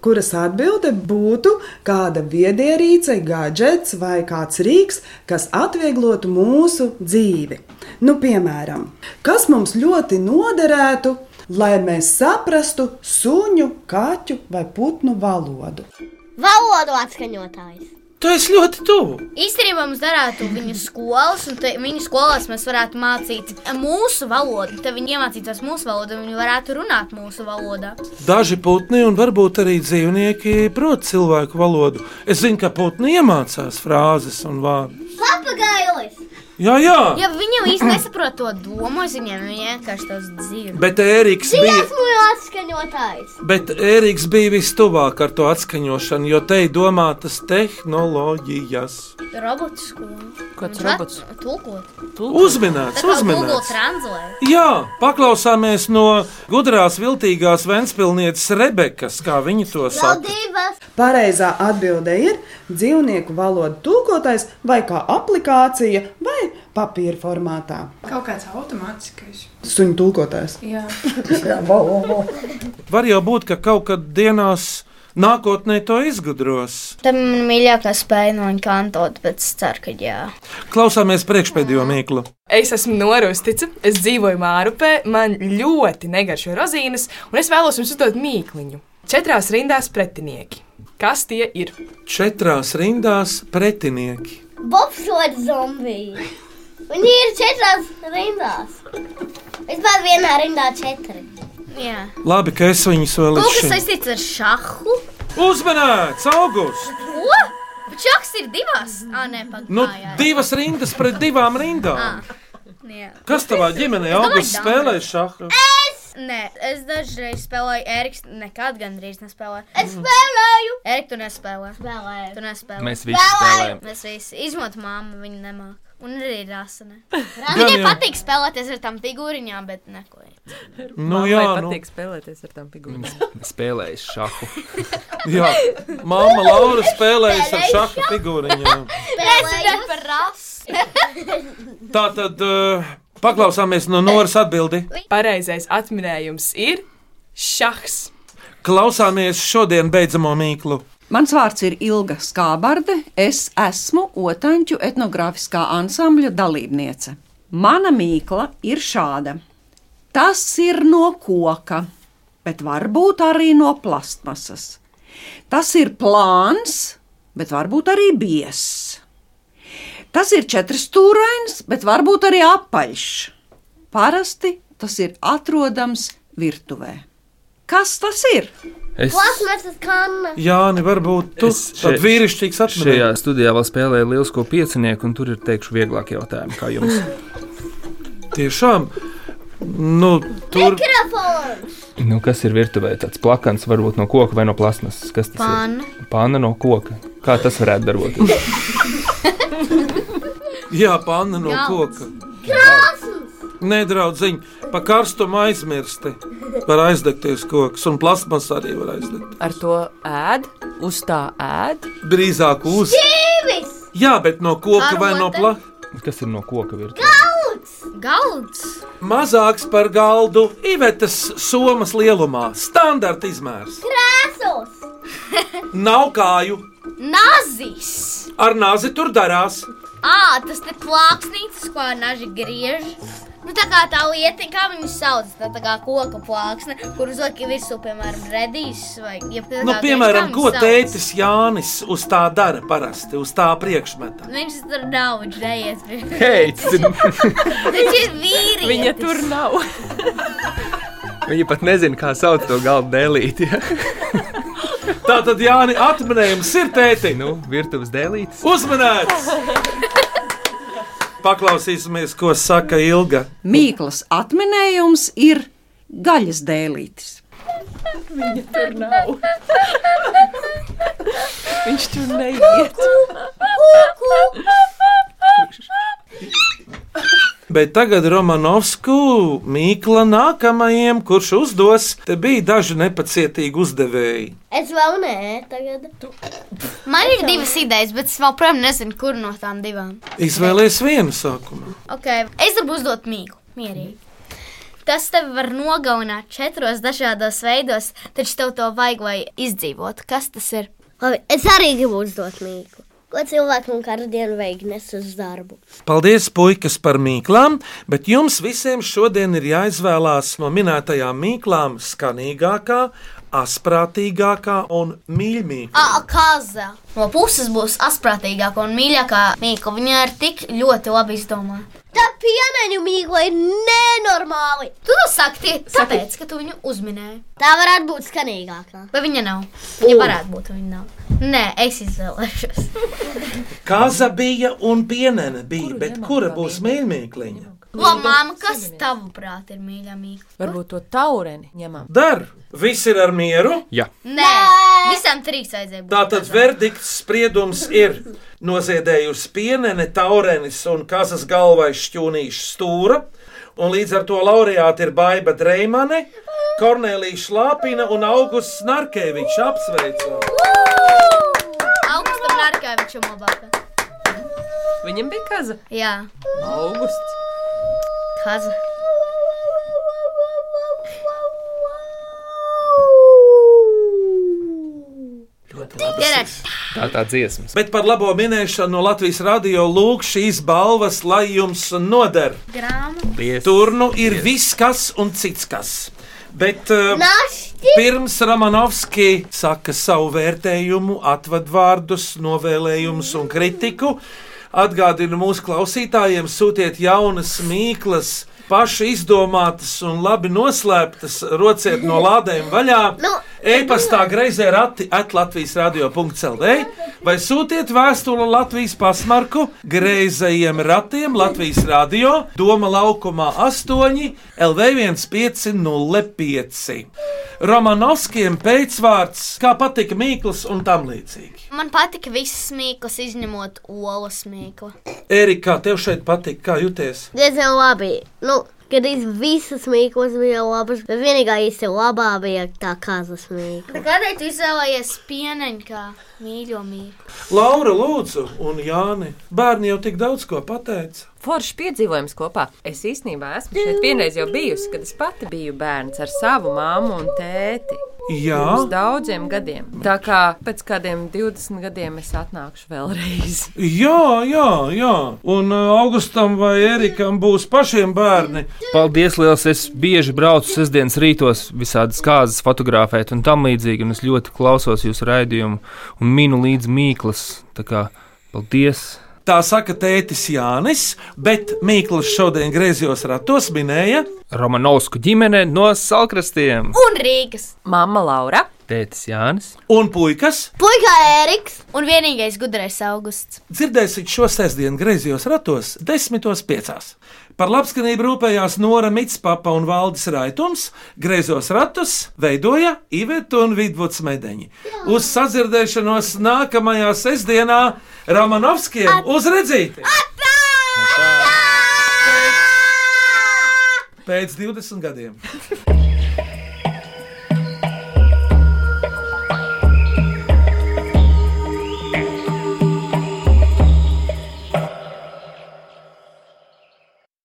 S13: kuras atbilde būtu kāda viedierīce, gadgets vai kāds rīks, kas atvieglotu mūsu dzīvi. Nu, piemēram, kas mums ļoti noderētu, lai mēs saprastu suņu, kaķu vai putnu valodu?
S4: Valodu atskaņotājs!
S3: Tu esi ļoti tuvu.
S6: Īstenībā mums darītu viņu skolas, un te, viņu skolās mēs varētu mācīt mūsu valodu. Tad viņi iemācītos mūsu valodu, un viņi varētu runāt mūsu valodā.
S3: Daži putni un varbūt arī dzīvnieki prot cilvēku valodu. Es zinu, ka putni iemācās frāzes un vārdus.
S4: Papagailis!
S3: Jā, jā,
S6: Ja viņi jau īstenībā nesaprot to domu, es viņiem viņi vienkārši tos dzīvo.
S3: bet Ēriks bija.
S4: Dziesmu atskaņotājs!
S3: Bet Ēriks bija vistuvāk ar to atskaņošanu, jo te ir domātas tehnoloģijas.
S6: Robots skolu.
S5: Kāds
S6: Viņš
S5: robots?
S6: at- Tulkot.
S3: Uzminēts,
S6: Google
S3: uzminēts!
S6: translēt.
S3: Jā, paklausāmies no gudrās, viltīgās Vēncpilsnietes Rebekas, kā viņa to saka.
S4: divas!
S13: Pareizā atbilde ir dzīvnieku valoda tulkotais vai kā aplikācija vai papīra formātā.
S14: Kaut kāds automātiskais.
S13: Suņu tulkotais.
S14: Jā,
S3: Var jau būt, ka kaut kad dienās nākotnē to izgudros.
S6: Tā man mīļākā spēja no viņa kantot, bet es ceru, ka jā.
S3: Klausāmies priekšpēdējo mīklu.
S14: Es esmu norūstīts, es dzīvoju Mārupē, man ļoti negaršo rozīnes, un es vēlos jums uzdot mīkliņu. Četrās rindās pretinieki. Kas tie ir?
S3: Četrās rindās pretinieki.
S4: Bobsoda zombija. Viņi ir četrās rindās. Vispār vienā rindā četri.
S6: Jā.
S3: Labi, ka es viņus vēl
S6: Kaut kas
S3: izšķiru.
S6: saistīts ar šahu.
S3: Uzmanīts, augusts!
S6: Ko? Čaks ir divas. Ā, nē, pagaidi.
S3: Nu, divas rindas pret divām rindām.
S6: Jā.
S3: Kas tavā ģimenē
S6: domāju,
S3: augusts
S6: Dāna.
S3: spēlē šādu?
S6: Es! Nē, es dažreiz spēlēju, Eriks nekad gandrīz nespēlēju. Es spēlēju! Erika, tu nespēlēji. Spēlēju. Tu nespēlēji.
S7: Mēs visi Spēlēju. spēlējam.
S6: Mēs visi izmot māmu, viņa nemāk. Un arī rāsane.
S3: jā.
S6: Viņai patīk spēlēties ar tām figūriņām, bet neko.
S3: Nu,
S5: Mammai
S3: jā, nu.
S5: patīk spēlēties ar tām figūrām.
S7: Spēlējis šahu.
S3: Jā, māma Laura spēlējas ar šādu figūriņu.
S6: Es tikai par rasi.
S3: Tā tad uh, paklausāmies no Noras atbildi.
S14: Pareizais atminējums ir šahs.
S3: Klausāmies šodien beidzamo mīklu.
S15: Mans vārds ir Ilga Skābarde. Es esmu Otāņu etnogrāfiskā ansambļa dalībniece. Mana mīkla ir šāda. Tas ir no koka, bet varbūt arī no plastmasas. Tas ir plāns, bet varbūt arī biezs. Tas ir četrstūrains, bet varbūt arī apaļš. Parasti tas ir atrodams virtuvē. Kas tas ir?
S7: Es-
S4: Plasmasas kanna.
S3: Jā, varbūt tas ir vīrišķīgs
S7: Šajā
S3: atšķirības.
S7: studijā vēl spēlēja lielisko piecinieku, un tur ir teikšu vieglāk jautājumi kā jums.
S3: Tiešām, nu, tur
S4: Mikrofons.
S7: Nu, kas ir virtuvē? Tāds plakans, varbūt no koka vai no plasmasas. Kas tas
S6: Panna.
S7: ir? Pāna no koka. Kā tas varētu darboties?
S3: jā, panna no
S6: Galds.
S3: koka.
S4: Krāsns.
S3: Nedraudziņ, pa karstumu aizmirsti. Var aizdegties koks, un plasmas arī var aizdegt.
S5: Ar to ēd, uz tā ēd.
S3: Drīzāk uz.
S4: Ķīvis.
S3: Jā, bet no koka vai no
S6: Karote.
S3: pla...
S7: Kas ir no koka virtuvē?
S4: Galds.
S6: Galds.
S3: mazāks par galdu Ivetas somas lielumā. Standarta izmērs.
S4: Krēsls,
S3: Nav kāju,
S6: Nazis!
S3: ar nāzi tur darās.
S6: Ā, tas te plāksnītis, ko naži griež. Nu, tā kā tā lieta, kā viņu sauc, tā, tā kā koka plāksne, kur uzliek virsū, piemēram, redīs vai jebkas.
S3: Nu, piemēram, ko tētis Jānis uz tā dara parasti, uz tā priekšmeta.
S6: Viņš tur nav, viņš neies pie
S7: Hei, tas ir-
S6: Viņš ir vīrietis.
S5: Viņa tur nav.
S7: Viņi pat nezina, kā sauc to galdu dēlīti. Ja?
S3: Tā tad Jāni atminējums ir tēti.
S7: Nu, virtuves dēlītis.
S3: Uzmanēts! Paklausīsimies, ko saka Ilga.
S15: Mīklas atminējums ir gaļas dēlītis.
S5: Viņa tur nav. Viņš tur neiet.
S3: Bet tagad Romanovsku mīkla nākamajam, kurš uzdos, te bija daži nepacietīgi uzdevēji.
S4: es vēl nē, tagad.
S6: Man ir divas idejas, bet es joprojām nezinu, kur no tām divām.
S3: Izvēlējies vienu sākumu.
S6: Okay. Es gribu uzdot mīklu, mierīgi. Tas tev var nogalināt četros dažādos veidos, taču tev to vajag, lai izdzīvotu. Kas tas ir?
S4: Labi, es arī gribu uzdot mīklu. Ko cilvēkam katru dienu vajag nes uz darbu?
S3: Paldies, puikas, par mīklām, bet jums visiem šodien ir jāizvēlās no minētajām mīklām skanīgākā, asprātīgākā un mīļākā.
S6: Ah, kaza. No puses būs asprātīgākā un mīļākā mīkla. Viņa ir tik ļoti labi izdomāta.
S4: Tā pienaņu mīkla ir nenormāli.
S6: Tu to saki tie- tāpēc, ka tu viņu uzminēji.
S4: Tā varētu būt skanīgākā.
S6: Vai viņa nav? Viņa varētu būt, viņa nav. Nē, es izvēlēšos.
S3: Kaza bija un pienene bija, bet kura būs mīļākā?
S6: Labi, māma, kas tavuprāt ir mīļā mīkla?
S5: Varbūt to taureni ņemam.
S3: Dar, viss ir ar mieru.
S7: Jā.
S6: Nē, visam trīs vajadzēja būt.
S3: Tātad verdikts spriedums ir noziedējusi pienene, taurenis un kazas galvais šķūnīša stūra. Un līdz ar to laureāti ir Baiba Dreimane, Kornelija Šlāpina un Augusts Narkevičs. Apsveicam!
S6: Augustam Nārkāvičam labāk.
S5: Viņam bija kaza.
S6: Jā,
S5: Augusts.
S6: kaza.
S7: Tā tā dziesma.
S3: Bet par labo minēšanu no Latvijas radio lūk šīs balvas, lai jums noder.
S6: Grāmatu.
S7: Paldies.
S3: Tur nu ir viss, kas un cits kas. Bet uh,
S4: Našķi!
S3: pirms Ramanovski saka savu vērtējumu, atvadvārdus, novēlējumus un kritiku, atgādinu mūsu klausītājiem, sūtiet jaunas mīklas. Paši izdomātas un labi noslēptas, rociet no lādēm vaļā.
S4: Nu,
S3: E-pastā greizē rati atlatvijas radio.cl. vai sūtiet vēstuli Latvijas pasmarku greizajiem ratiem Latvijas radio Doma laukumā 8 LV1505. Romanovskiem pēcvārds, kā patika Mīkls un tam līdzīgi.
S6: Man patika visas mīklas, izņemot olu smīklu.
S3: Erika, tev šeit patika, kā jūties?
S4: Diezgan labi. Nu, kad es visas mīklas bija labas, bet vienīgā īsti labā bija tā kazas mīkla.
S6: Kādēļ tu izvēlējies pieneņu kā mīļo mīklu?
S3: Laura, lūdzu, un Jāni. Bērni jau tik daudz ko pateica.
S5: Foršs piedzīvojums kopā. Es īstenībā esmu šeit vienreiz jau bijusi, kad es pati biju bērns ar savu māmu un tēti.
S3: Jā.
S5: Pirms daudziem gadiem. Tā kā pēc kādiem 20 gadiem es atnākšu vēlreiz.
S3: Jā, jā, jā. Un ā, Augustam vai Erikam būs pašiem bērni.
S7: Paldies, liels! Es bieži braucu sestdienas rītos, visādas kārtas fotografēt un tam līdzīgi, un es ļoti klausos jūsu raidījumu un minu līdz mīklas. Tā kā paldies!
S3: Tā saka tētis Jānis, bet Mīkls šodien griezījos ratos minēja.
S7: Romanovsku ģimene no Salkrastiem!
S6: Un Rīgas.
S5: Mama Laura.
S7: Tētis Jānis.
S3: Un puikas
S6: Puika Eriks. Un vienīgais gudrais augusts.
S3: dzirdēsiet šo sestdienu griezījos ratos 10.5. Par labskanību rūpējās Nora Mitspapa un Valdis Raitums, griezos ratus veidoja Iveta un Vidvuds Medeņi. Uz sadzirdēšanos nākamajā sestdienā Romanovskiem uzredzīti! Pēc 20 gadiem!